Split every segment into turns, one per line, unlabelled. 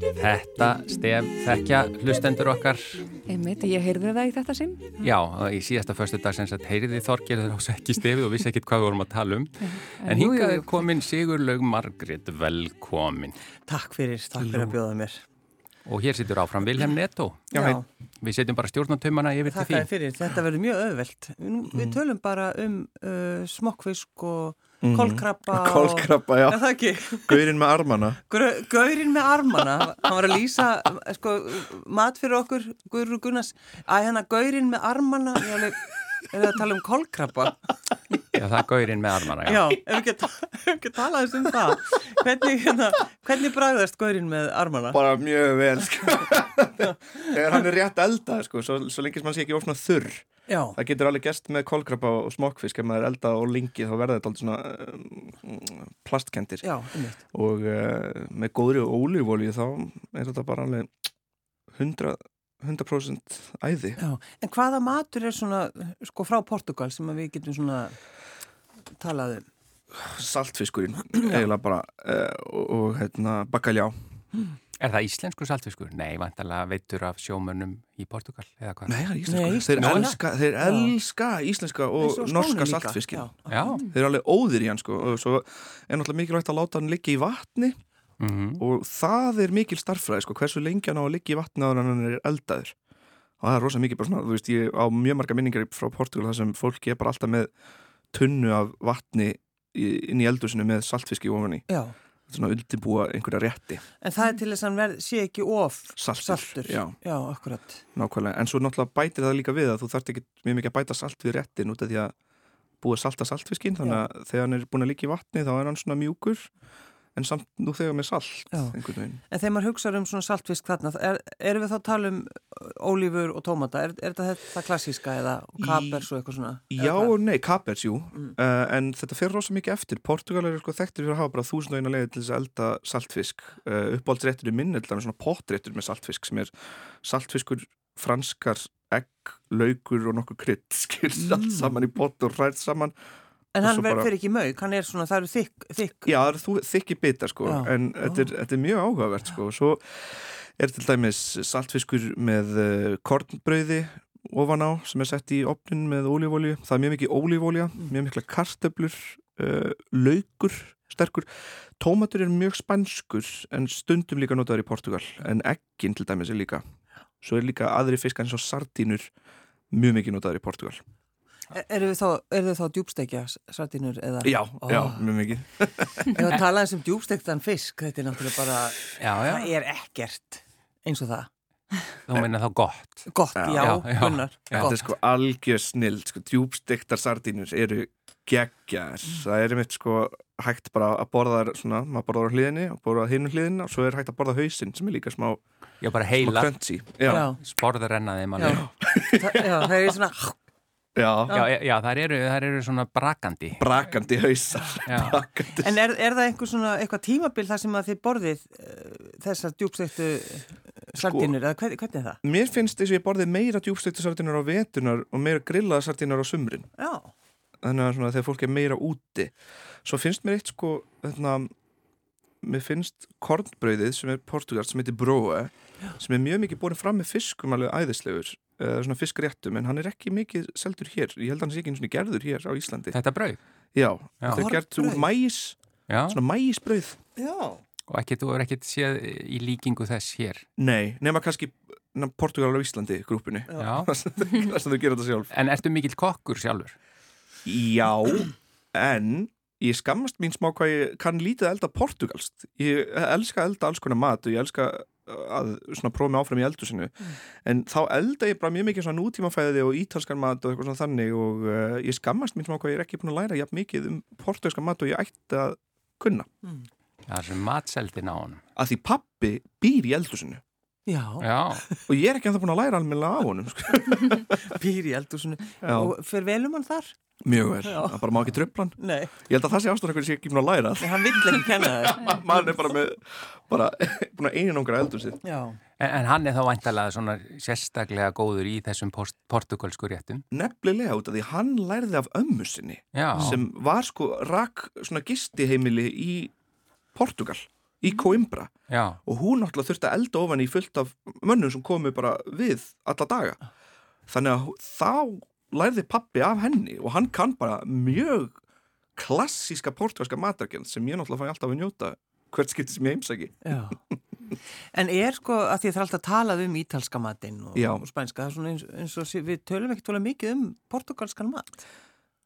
Þetta stef þekkja hlustendur okkar
Einmitt, ég heyrði það í þetta sinn.
Já, í síðasta förstu dag sem sagt heyriði Þorgerður ás ekki stefið og vissi ekkit hvað við vorum að tala um En
jú,
hingað
jú,
er komin Sigurlaug Margrét velkomin
Takk fyrir, takk fyrir að bjóða mér.
Og hér situr áfram Vilhelm Netto
Já. Já.
Við setjum bara stjórnatömmana yfir til
Takk
því
fyrir, þetta verður mjög öðvelt. Nú, Við tölum bara um uh, smokkfisk og kólkrabba. og-
Kolkrabba, já.
Er það ekki?
Gaurinn með armana.
Grau- Gaurinn með armana, hann var að lýsa sko, mat fyrir okkur, Guður Gunnars, að hérna gaurinn með armana, ég alveg, er það að tala um kolkrabba?
Já, það er gaurinn með armana
Já, ef ekki, að ta- ef ekki talaðist um það, hvernig, hérna, hvernig bragðast gaurinn með armana?
Bara mjög vel, sko. Þegar hann er rétt elda, sko, svo, svo lengi sem hann sé ekki of svona þurr.
Já,
Það getur alveg gerst með kolkrabba og smokkfisk ef maður er elda og lengi þá verða þetta aldrei svona um, plastkendir.
já, einmitt.
Og uh, með góðri og ólífólíu þá er þetta bara alveg 100, 100% æði.
Já. En hvaða matur er svona, sko, frá Portugal sem að við getum svona talað um?
Saltfiskurinn, eiginlega bara, uh, og, og hérna, bakaljá.
Er það íslensku saltfiskur? Nei, vantarlega veitur af sjómönnum í Portugal eða hvað?
Nei, það er
Nei,
íslensku. Þeir,
íslensku.
elska, þeir elska íslenska
Eins
og
á
norska
Spáni líka.
saltfiskinn.
Já.
Já,
Þeir eru alveg óðir í hann sko og svo er náttúrulega mikilvægt að láta hann liggja í vatni
mhm.
og það er mikil starffræði sko hversu lengi hann á að liggja í vatni áður en hann er eldaður og það er rosa mikið bara svona, þú veist, ég á mjög marga minningar frá Portugal þar sem fólki er bara alltaf með tunnu af vatni í- inn í eldusinu með saltfiski ofan í
Já,
svona undirbúa einhverja rétti
en það er til þess að hann verð, sé ekki of
Saltur,
saltur.
já.
já, akkurat.
nákvæmlega, en svo náttúrulega bætir það líka við að þú þarft ekki mjög mikið að bæta salt við réttin út af því að búa að salta saltfiskin þannig að þegar hann er búin að líka í vatni þá er hann svona mjúkur en samt nú þegar með salt
Já.
einhvern veginn
En þegar maður hugsaður um svona saltfisk þarna, er, erum við þá að tala um ólífur og tómata? Er, er þetta þetta klassíska eða kapers og eitthvað svona?
Já
Eða hvað? Mm.
og nei, kapers, jú, uh, en þetta fer rosa mikið eftir. Portugal er sko þekktir fyrir að hafa bara þúsund og eina leiði til þess að elda saltfisk. Uh, uppáhaldsréttur í minn, eða svona pottréttur með saltfisk sem er saltfiskur, franskar, egg, laukur og nokkuð krydd, skil
Mm.
allt saman í pott og hrært saman.
En hann
svo
verð,
bara-
fer ekki í mauk, hann er svona, það eru þykk, þykk.
Já, það eru þú þykki bitar sko,
Já.
en þetta er, þetta er mjög áhugavert sko. Svo er til dæmis saltfiskur með uh, kornbrauði ofan á sem er sett í opnin með ólífólju. Það er mjög mikið ólífólja,
Mm.
mjög mikla kartöflur, uh, laukur, sterkur. Tómatur er mjög spanskur en stundum líka notaður í Portugal, en egginn til dæmis er líka. Svo er líka aðri fiskar eins og sardínur mjög mikið notaður í Portugal.
Er, erum E, við þá, er þau þá djúbstekja sardinur eða?
Já, já,
Ó.
mjög mikið.
Ef að tala eins um djúbstektan fisk, þetta er náttúrulega bara,
já,
það
já,
er ekkert eins og það.
þú meina þá gott.
Gott, já,
Já, já.
Gunnar,
Þetta er
gott.
sko algjör snill, sko, djúbstektar sardínur eru geggjar. Það er einmitt sko hægt bara að borða þær svona, maður borðar á hliðinni og borðar á hinu hliðinna og svo er hægt að borða hausinn sem er líka smá,
Já, bara
smá
heila,
crunchy. Já, já.
Já.
sporður ennaði manni.
Já.
Já.
Það, já, það er svona
Já, já, þær eru, þær eru svona brakandi.
brakandi hausar.
Já.
Brakandi.
En er, er það einhver svona, eitthvað tímabil þar sem að þið borðið uh, þessar djúbstektu
Sko.
sardinur, eða hvernig, hvernig er það?
Mér finnst þess að ég borði meira djúbstektar sardínur á vetunar og meira grillaða sardínur á sumrin.
Já,
þannig að svona, þegar fólk er meira úti svo finnst mér eitt sko þarna, mér finnst kornbrauðið sem er portugalt sem heitir bróe sem er mjög mikið borin fram með fiskum alveg æðislegur, uh, svona fiskréttum en hann er ekki mikið seldur hér ég held að hann sé ekki einu svona gerður hér á Íslandi
Þetta brauð.
já,
Já.
þetta er gert úr
Kornbrauð?
mæs
Já,
svona mæsbrauð
já.
og ekkert, þú er ekkert séð í líkingu þess hér.
nei, nema kannski na, Portugal á Íslandi grúpunni
Já.
það sem þau gera þetta sjálf
En ertu mikill kokkur sjálfur?
Já, en ég skammast mín smá hvað ég kann lítið að elda portugalst. Ég elska að elda alls konar mat og ég elska uh, að svona prófa mig áfram í eldusinu en þá elda ég bara mjög mikið svona nútímafæði og ítalskan mat og eitthvað svona þannig og uh, ég skammast mín smá hvað ég er ekki búin að læra jafn mikið um portugalskan mat og ég ætti að kunna.
Það er sem matseldin á honum.
Að því pappi býr í eldusinu
Já,
Já,
og ég er ekki að það búin að læra almennilega á honum. Sko.
býr í eldúsinu
Já.
og fyrir velum um hann þar?
mjög vel,
Já.
það bara má ekki tröfla hann
Nei,
ég held að það sé ástæðan hvernig ég sé ekki búin að læra
nei, hann vill ekki kenna það.
Ma- maður er bara með bara, búin að einin okkar eldur sér
Já,
En, en hann er þá væntalega svona sérstaklega góður í þessum port portugalsku réttum.
nefnilega út af því hann lærði af ömmu sinni
Já,
sem var sko rak svona gistiheimili í Portugal í Coimbra
já,
og hún náttúrulega þurfti að elda ofan í fullt af mönnum sem komu bara við alla daga þannig að hú- þá lærði pappi af henni og hann kann bara mjög klassíska portugalska matarkjönd sem ég náttúrulega fæ alltaf að njóta hvert skipti sem ég heimsæki
já. En er sko, að því það er alltaf talað um ítalska matinn og,
Já.
og spænska, það er svona eins, eins og sé- við tölum ekki tólað mikið um portugalskan mat.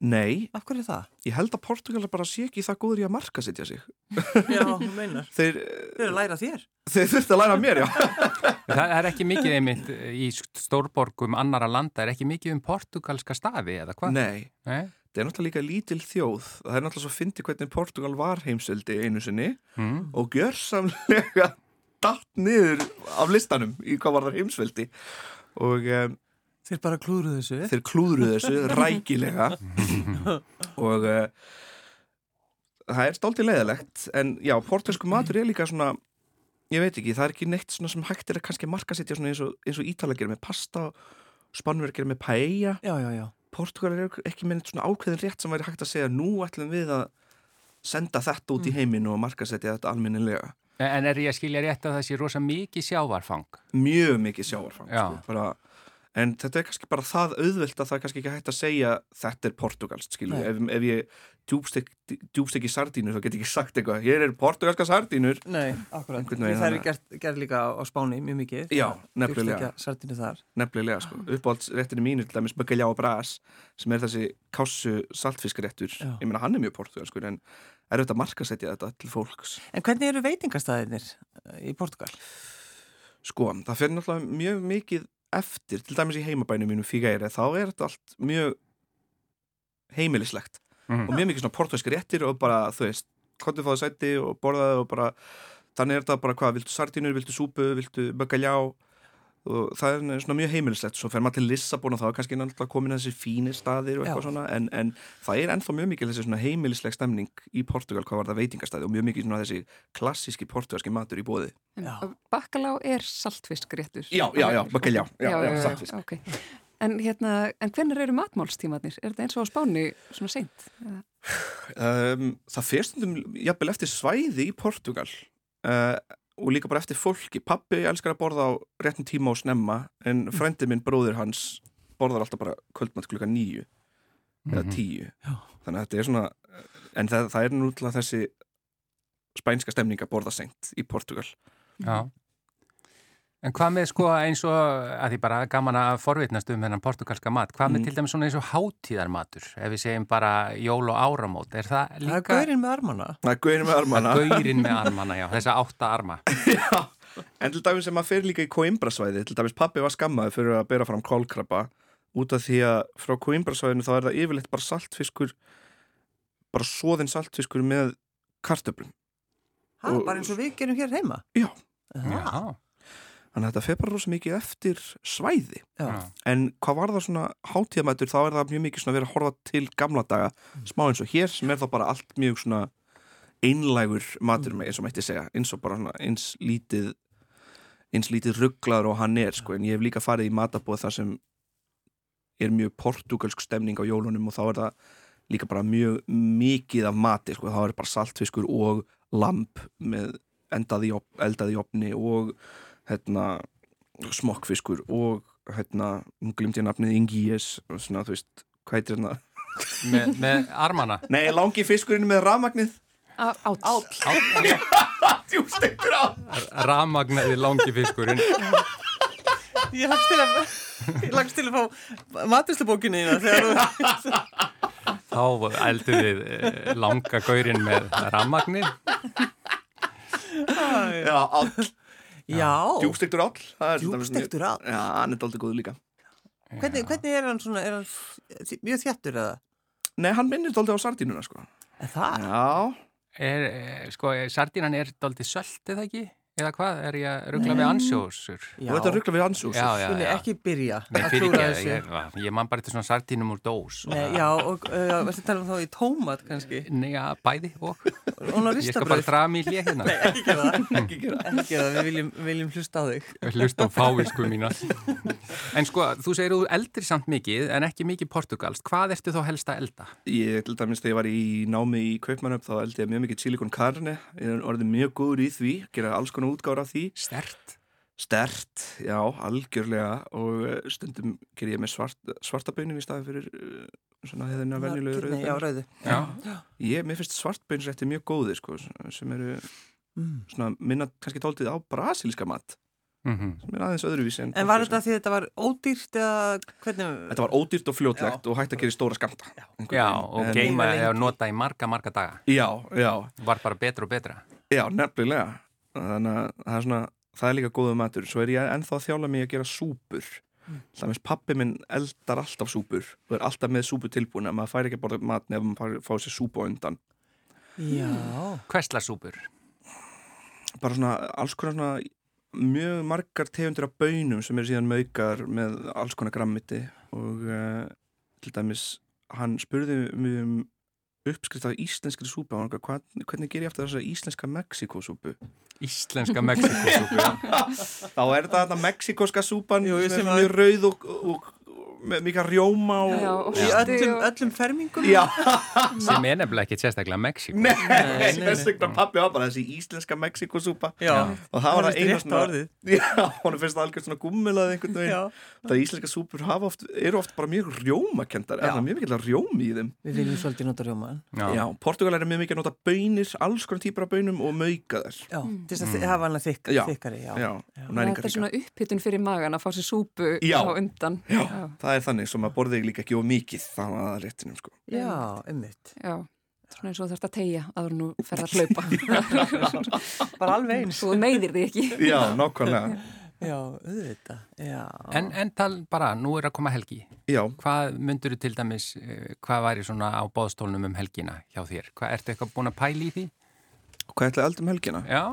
Nei,
Af hverju er það?
ég held að Portugalar bara sé ekki það góður í að marka sitja sig
Já, hún meinar.
þeir, eh,
Þau eru að læra þér.
þeir þurfti að læra af mér, já
það er ekki mikið einmitt í stórborgum annara landa, er ekki mikið um portugalska staði eða hvað?
Nei,
Nei.
það er náttúrulega líka lítil þjóð það er náttúrulega svo fyndi hvernig Portugal var heimsveldi einu sinni
Mm.
og gjörsamlega datt niður af listanum í hvað var þar heimsveldi og um,
Þeir bara klúru þessu.
þeir klúðruðu þessu rækilega og uh, það er stáltið leiðilegt en já, portugalsku matur er líka svona ég veit ekki, það er ekki neitt svona sem hægt er að kannski marka sitja svona eins og, eins og Ítala gerir með pasta Spannverð gerir með paella
Já, já, já.
Portugalar eru ekki með neitt svona ákveðin rétt sem væri hægt að segja nú ætlum við að senda þetta
Mm.
út í heiminn og markasetja þetta almennilega.
En- En er ég að skilja rétt að það sé rosa mikið sjávarfang?
Mjög mikið sjávarfang.
Já.
Sko, bara, en þetta er kannski bara það auðvelt að það er kannski ekki hægt að segja þetta er portugalst, skilu.
Nei.
Ef, ef ég djúbstek- djúbstekki sardínur þá get ég ekki sagt eitthvað. Hér er portugalska sardínur.
Nei, akkurat.
Einhvern veginn
það er
þannig.
gert, gert líka á Spáni mjög mikið.
Já,
Djúpstekja
nefnilega.
Sardínu þar.
Nefnilega, sko.
Ah.
Uppáhaldsréttinu mínu til dæmis Böggeljá og Brás sem er þessi kásu saltfiskréttur.
Já.
Ég meina hann er mjög portugalskur en er auðvitað að markasetja þetta til fólks.
En hvernig eru veitingastæðinir eh, í Portugal?
Sko, það fyrir náttúrulega mjög mikið eftir, til dæmis í heimabænum mínum fígæri, þá er þetta allt mjög heimilislegt
Mm.
og mjög mikið svona portugalski réttir og bara, þú veist, kontið fáðu sæti og borðaði og bara, þannig er þetta bara hvað, viltu sardínur, viltu súpu, viltu böggaljá og það er svona mjög heimilislegt, svo fer maður til Lissabon og þá er kannski náttúrulega komin að þessi fínir staðir og eitthvað
Já.
svona, en, en það er ennþá mjög mikið þessi svona heimilisleg stemning í Portugal hvað var það veitingastæði og mjög mikið svona þessi klassíski portugalski matur í bóði.
En
Já.
Bakkalá er saltfiskréttur.
Já, já, já, böggaljá, já, já, já, saltfisk.
ok. En, hérna, en hvernig eru matmálstímanir? Er þetta eins og á Spáni svona seint?
um, það fyrstundum jafnvel eftir svæði í Portugal uh, og líka bara eftir fólki pappi elskar að borða á réttum tíma og snemma en frendi minn bróðir hans borðar alltaf bara kvöldmatt klukka nýju
Mhm.
eða tíu
Já.
þannig að þetta er svona en það, það er nútla þessi spænska stemning að borða seint í Portugal
Já. En hvað með sko eins og, að því bara gaman að forvitnast um hennan portugalska mat, hvað með
Mm.
til dæmis svona eins og hátíðarmatur, ef við segjum bara jól og áramót, er það
Það
líka...
er gaurinn með armana.
Það er guðin með
Það
armana
er gaurinn með armana, já, þessa átta arma.
Já, en til dæmis sem maður fer líka í Coimbra-svæði, til dæmis pappi var skammaði fyrir að bera fram kólkrabba út af því að frá Coimbra-svæðinu þá er það yfirleitt bara saltfiskur, bara svoðin saltfiskur með kartöflum.
Ha,
Og-
bara eins og við gerum hér heima.
Já.
Aha.
Já,
Þannig að þetta fer bara rosa mikið eftir svæði.
Já.
já.
En hvað var það svona hátíðamætur, þá er það mjög mikið svona verið að horfa til gamla daga, smá eins og hér sem er þá bara allt mjög svona einlægur matur með, eins og mætti segja, eins og bara svona eins lítið, eins lítið rugglaður og hann er, sko, en ég hef líka farið í matabóð þar sem er mjög portugalsk stemning á jólunum og þá er það líka bara mjög mikið af mati, sko, þá er bara saltfiskur og lamp með endaði, eldaði í opni og hérna smokkfiskur og hérna, hún glimti ég nafnið Ingies og svona, þú veist, hvað heitir hérna
Me, með armana.
Nei, langi fiskurinn með rafmagnið
Á- Áll. Áll.
Djústekur á
Ramagnaði langi fiskurinn.
Ég lagst til að, ég lagst til að fá maturslubókinu þína þegar þú...
Þá eldum við eh, langa gaurinn með ramagnið.
Já, áll,
Já,
djústekur áll það er til dæmis mjög-
djúbstektur all.
Já, hann er daldið góð líka
Hvernig, hvernig er hann svona, er hann þ- mjög þjættur eða?
Nei, hann minnir daldið á sardínuna, sko
Er það?
Já,
Er, eh, sko, eh, sardínan er daldið sölt, eða ekki? Eða hvað, er ég að ruggla við ansjósur?
og þetta ruggla við ansús
Já, já,
Skulum
já.
ekki byrja
Nei,
að
fyrir
klúðra
ekki,
þessu.
ég, ah, ég man bara til svona sartínum úr dós. Ah,
Nei, já, og uh, já, varstu að tala um þá í tómat kannski
Nei, já, bæði og.
Hún á
Ég skal bara
ristabröð
draga mig í hlið hérna.
Nei, ekki gera það, ekki gera það, ekki gera það. Við, viljum, við viljum hlusta á þig
Hlust á fávisku mína. En sko, þú segir þú eldri samt mikið, en ekki mikið portugalst. Hvað ertu þá helst að elda?
Ég til dæmis þegar ég var í námi í Kaupmannöf þá eldi ég mjög mikið silikon karne ég er orðið mjög góður í því, gera alls konar útgára af því
Stert.
stert, já, algjörlega og eh, stundum ger ég með svart, svartabönin í staði fyrir eh, svona hefðina venjulegu
Nei, Já, rauðu
rauðbönin
Já.
Ég, mér finnst svartbönsrætti mjög góðir sko, sem eru svona minna kannski tóltið á brasilíska mat
Mhm.
sem er aðeins öðruvísi
En var þetta því þetta var ódýrt eða hvernig
Þetta var ódýrt og fljótlegt og hægt að gera í stóra skamta einhvern
Já,
veginn.
og
Sko, En-
geima
Mjög lengi.
eða nota í marga, marga daga.
Já, já,
Var bara betra og betra.
já, nefnilega Þannig að það er svona, það er líka góðu matur Svo er ég ennþá að þjála mig að gera súpur
Mm.
Þannig að pappi minn eldar alltaf súpur og er alltaf með súpu tilbúin að maður fær ekki að borða mat nefnum að maður fær- fá sér súpu á undan
Já
Hverslasúpur.
bara svona alls konar svona mjög margar tegundir af bönum sem eru síðan maukar með alls konar grammiti og uh, til dæmis hann spurði mig um uppskrift af íslenskri súpu og hvað, hvernig ger ég aftur þessa íslenska Mexikosúpu
Íslenska Mexikosúpur.
þá er þetta þarna Mexikoska súpan
Jú,
sem
ég
er
sem
mjög rauð og, og, og með mikið rjóma og,
Já, og-
Í
Já.
öllum, öllum fermingum
Já,
sem er nefnilega ekki sérstaklega Mexiko
nei,
nei, nei.
þess vegna pappi var bara þessi íslenska Mexikosúpa
Já,
og það var
Honum
það
finnst
eina
rétta orðið.
Já, honum finnst það algjörð svona gummilað einhvern veginn
já.
Það íslenska súpur hafa oft, eru oft bara mjög rjómakendar,
Já.
er það mjög mikil að rjómi í þeim.
Við viljum svolítið nota rjómaðan
Já.
Já, Portugal er mjög mikil að nota bönir, alls konar típar af bönum og mauka þær.
Já, til þess að þi- hafa hana þykk,
Já.
þykkari Já,
Já, og
Þetta
næringar
er svona upphittun fyrir magan að fá sér súpu
Já.
á undan.
Já, það er þannig, svo maður borðið líka ekki of mikið þá að það réttinum, sko.
já einmitt
Já. Svona eins og þú þarfst að tegja áður nú ferð að hlaupa.
Bara alveg eins
Svo þú meiðir því ekki.
Já, nákvæmlega.
Já, auðvitað Já,
en, en tal bara, nú er að koma helgi
Já,
hvað myndur þú til dæmis eh, hvað væri svona á bóðstólnum um helgina hjá þér, hvað, ertu eitthvað búin að pæla í því
og hvað ætlaði eldum helgina?
já,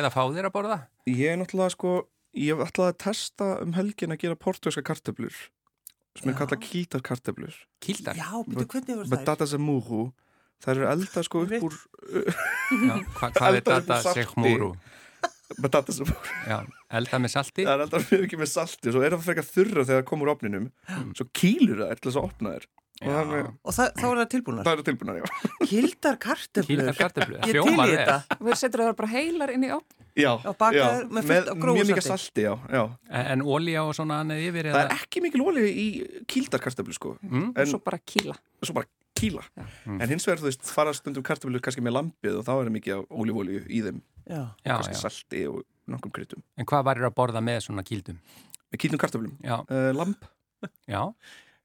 eða fá þér að borða
Ég er náttúrulega, sko, ég ætlaði að testa um helgina að gera portugalska kartöflur, sem er
Já.
kallað kýltarkartöflur.
kildar, já.
já betur hvernig voru það?
Batatas amuru, þær eru elda, sko, upp úr
Hva, hvað er
Eldar upp
þetta
salti.
sechmúru
batatas amuru.
já, elda með salti
það er alltaf mjög mikið með salti og svo er það frekar þurra þegar það komur opninum svo kýlur það er til þess að opna þér og það er,
Og það, þá er það tilbúnar
það er tilbúinar, já
Kildar kartöflur
kildar kartöflu,
Ég til
hljómar
í
vel.
þetta
Og við setur það bara heilar inn í opn.
Já,
Já, bakaðar með fullt af grófu
mjög mikið
salti.
salti, já, já.
en, en ólíja og svona annað yfir
Það
eða,
er ekki mikil olíu í kýldarkartablu sko,
mm?
og
en
svo bara kýla.
svo bara kýla
Já.
en hins vegar þú veist, fara stundum kartablu kannski með lampið og þá er mikið af olívolíu í þeim
Já,
já,
kannski
já.
salti og nokkrum kryttum
en hvað væri að borða með svona kildum
með kýlnum kartablum,
já,
uh, lamp
já,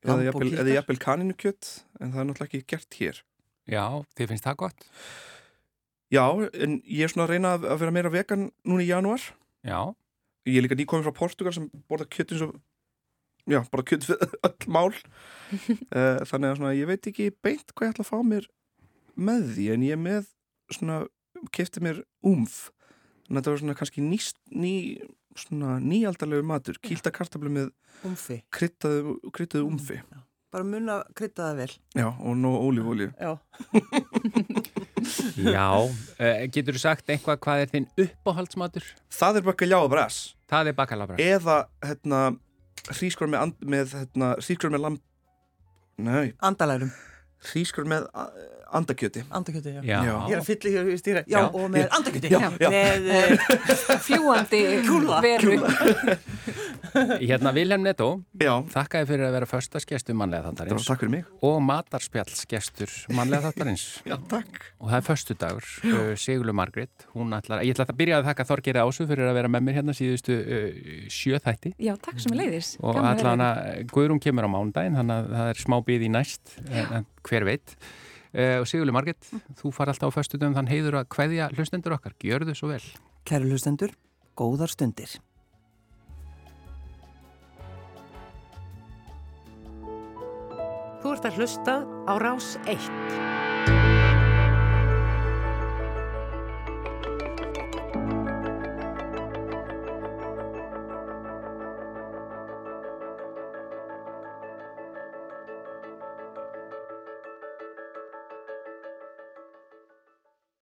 eða
Lamb og
jafnvel-
kýldar.
eða jafnvel kaninukjöt en það er náttúrulega ekki gert hér
já, þið finnst það gott
Já, en ég er svona að reyna að að vera meira vegan núna í janúar
já,
ég er líka nýkominn frá Portugal sem borða kjött eins og já, bara kjött við öll mál Eh, þannig að svona, ég veit ekki beint hvað ég ætla að fá mér með því en ég er með svona, kefti mér umf þannig að þetta var svona kannski ný, ný svona nýaldarlegu matur kýlda kartablu með
umfi
kryttaðu, kryttaðu umfi
Bara munna að krydda það vel
já, og nóg ólífólíu
Já
Já, eh, getur þú sagt eitthvað hvað er þinn uppáhaldsmatur?
það er bara og bræs
Það er bakalabra.
eða hérna hrískur með, and- með hérna, hrískur með lamb nei,
Andalærum,
hrískur með a- andakjöti
andakjöti, já.
já.
Já.
Ég er að fylla hér í stýra Já,
Já.
og með andakjöti
Já, já.
Með eh,
Fljúandi
Kúla.
veru.
Hérna Vilhelm Netto,
já,
þakkaði fyrir að vera föstasgestur mannlega
það var
þáttarins
takk fyrir mig
og matarspjallsgestur mannlega þáttarins
Já, takk.
og það er föstudagur, uh, Sigurlu Margrét, hún ætlar, ég ætla að byrja að þakka Þorgeri Ásu fyrir að vera með mér hérna síðustu uh, sjöþætti
Já, takk sem ég leiðis.
og
Gaman að vera hérna.
allan að eh, Guðrún kemur á mándaginn, þannig að það er smá bíð í næst, en, en hver veit. Uh, og Sigurlu Margrét,
Mm.
þú far alltaf á föstudagum, þann heiður að kveðja hlustendur okkar, gjörðu svo vel.
Kæru hlustendur, góðar stundir
Þú ert að hlusta á Rás 1.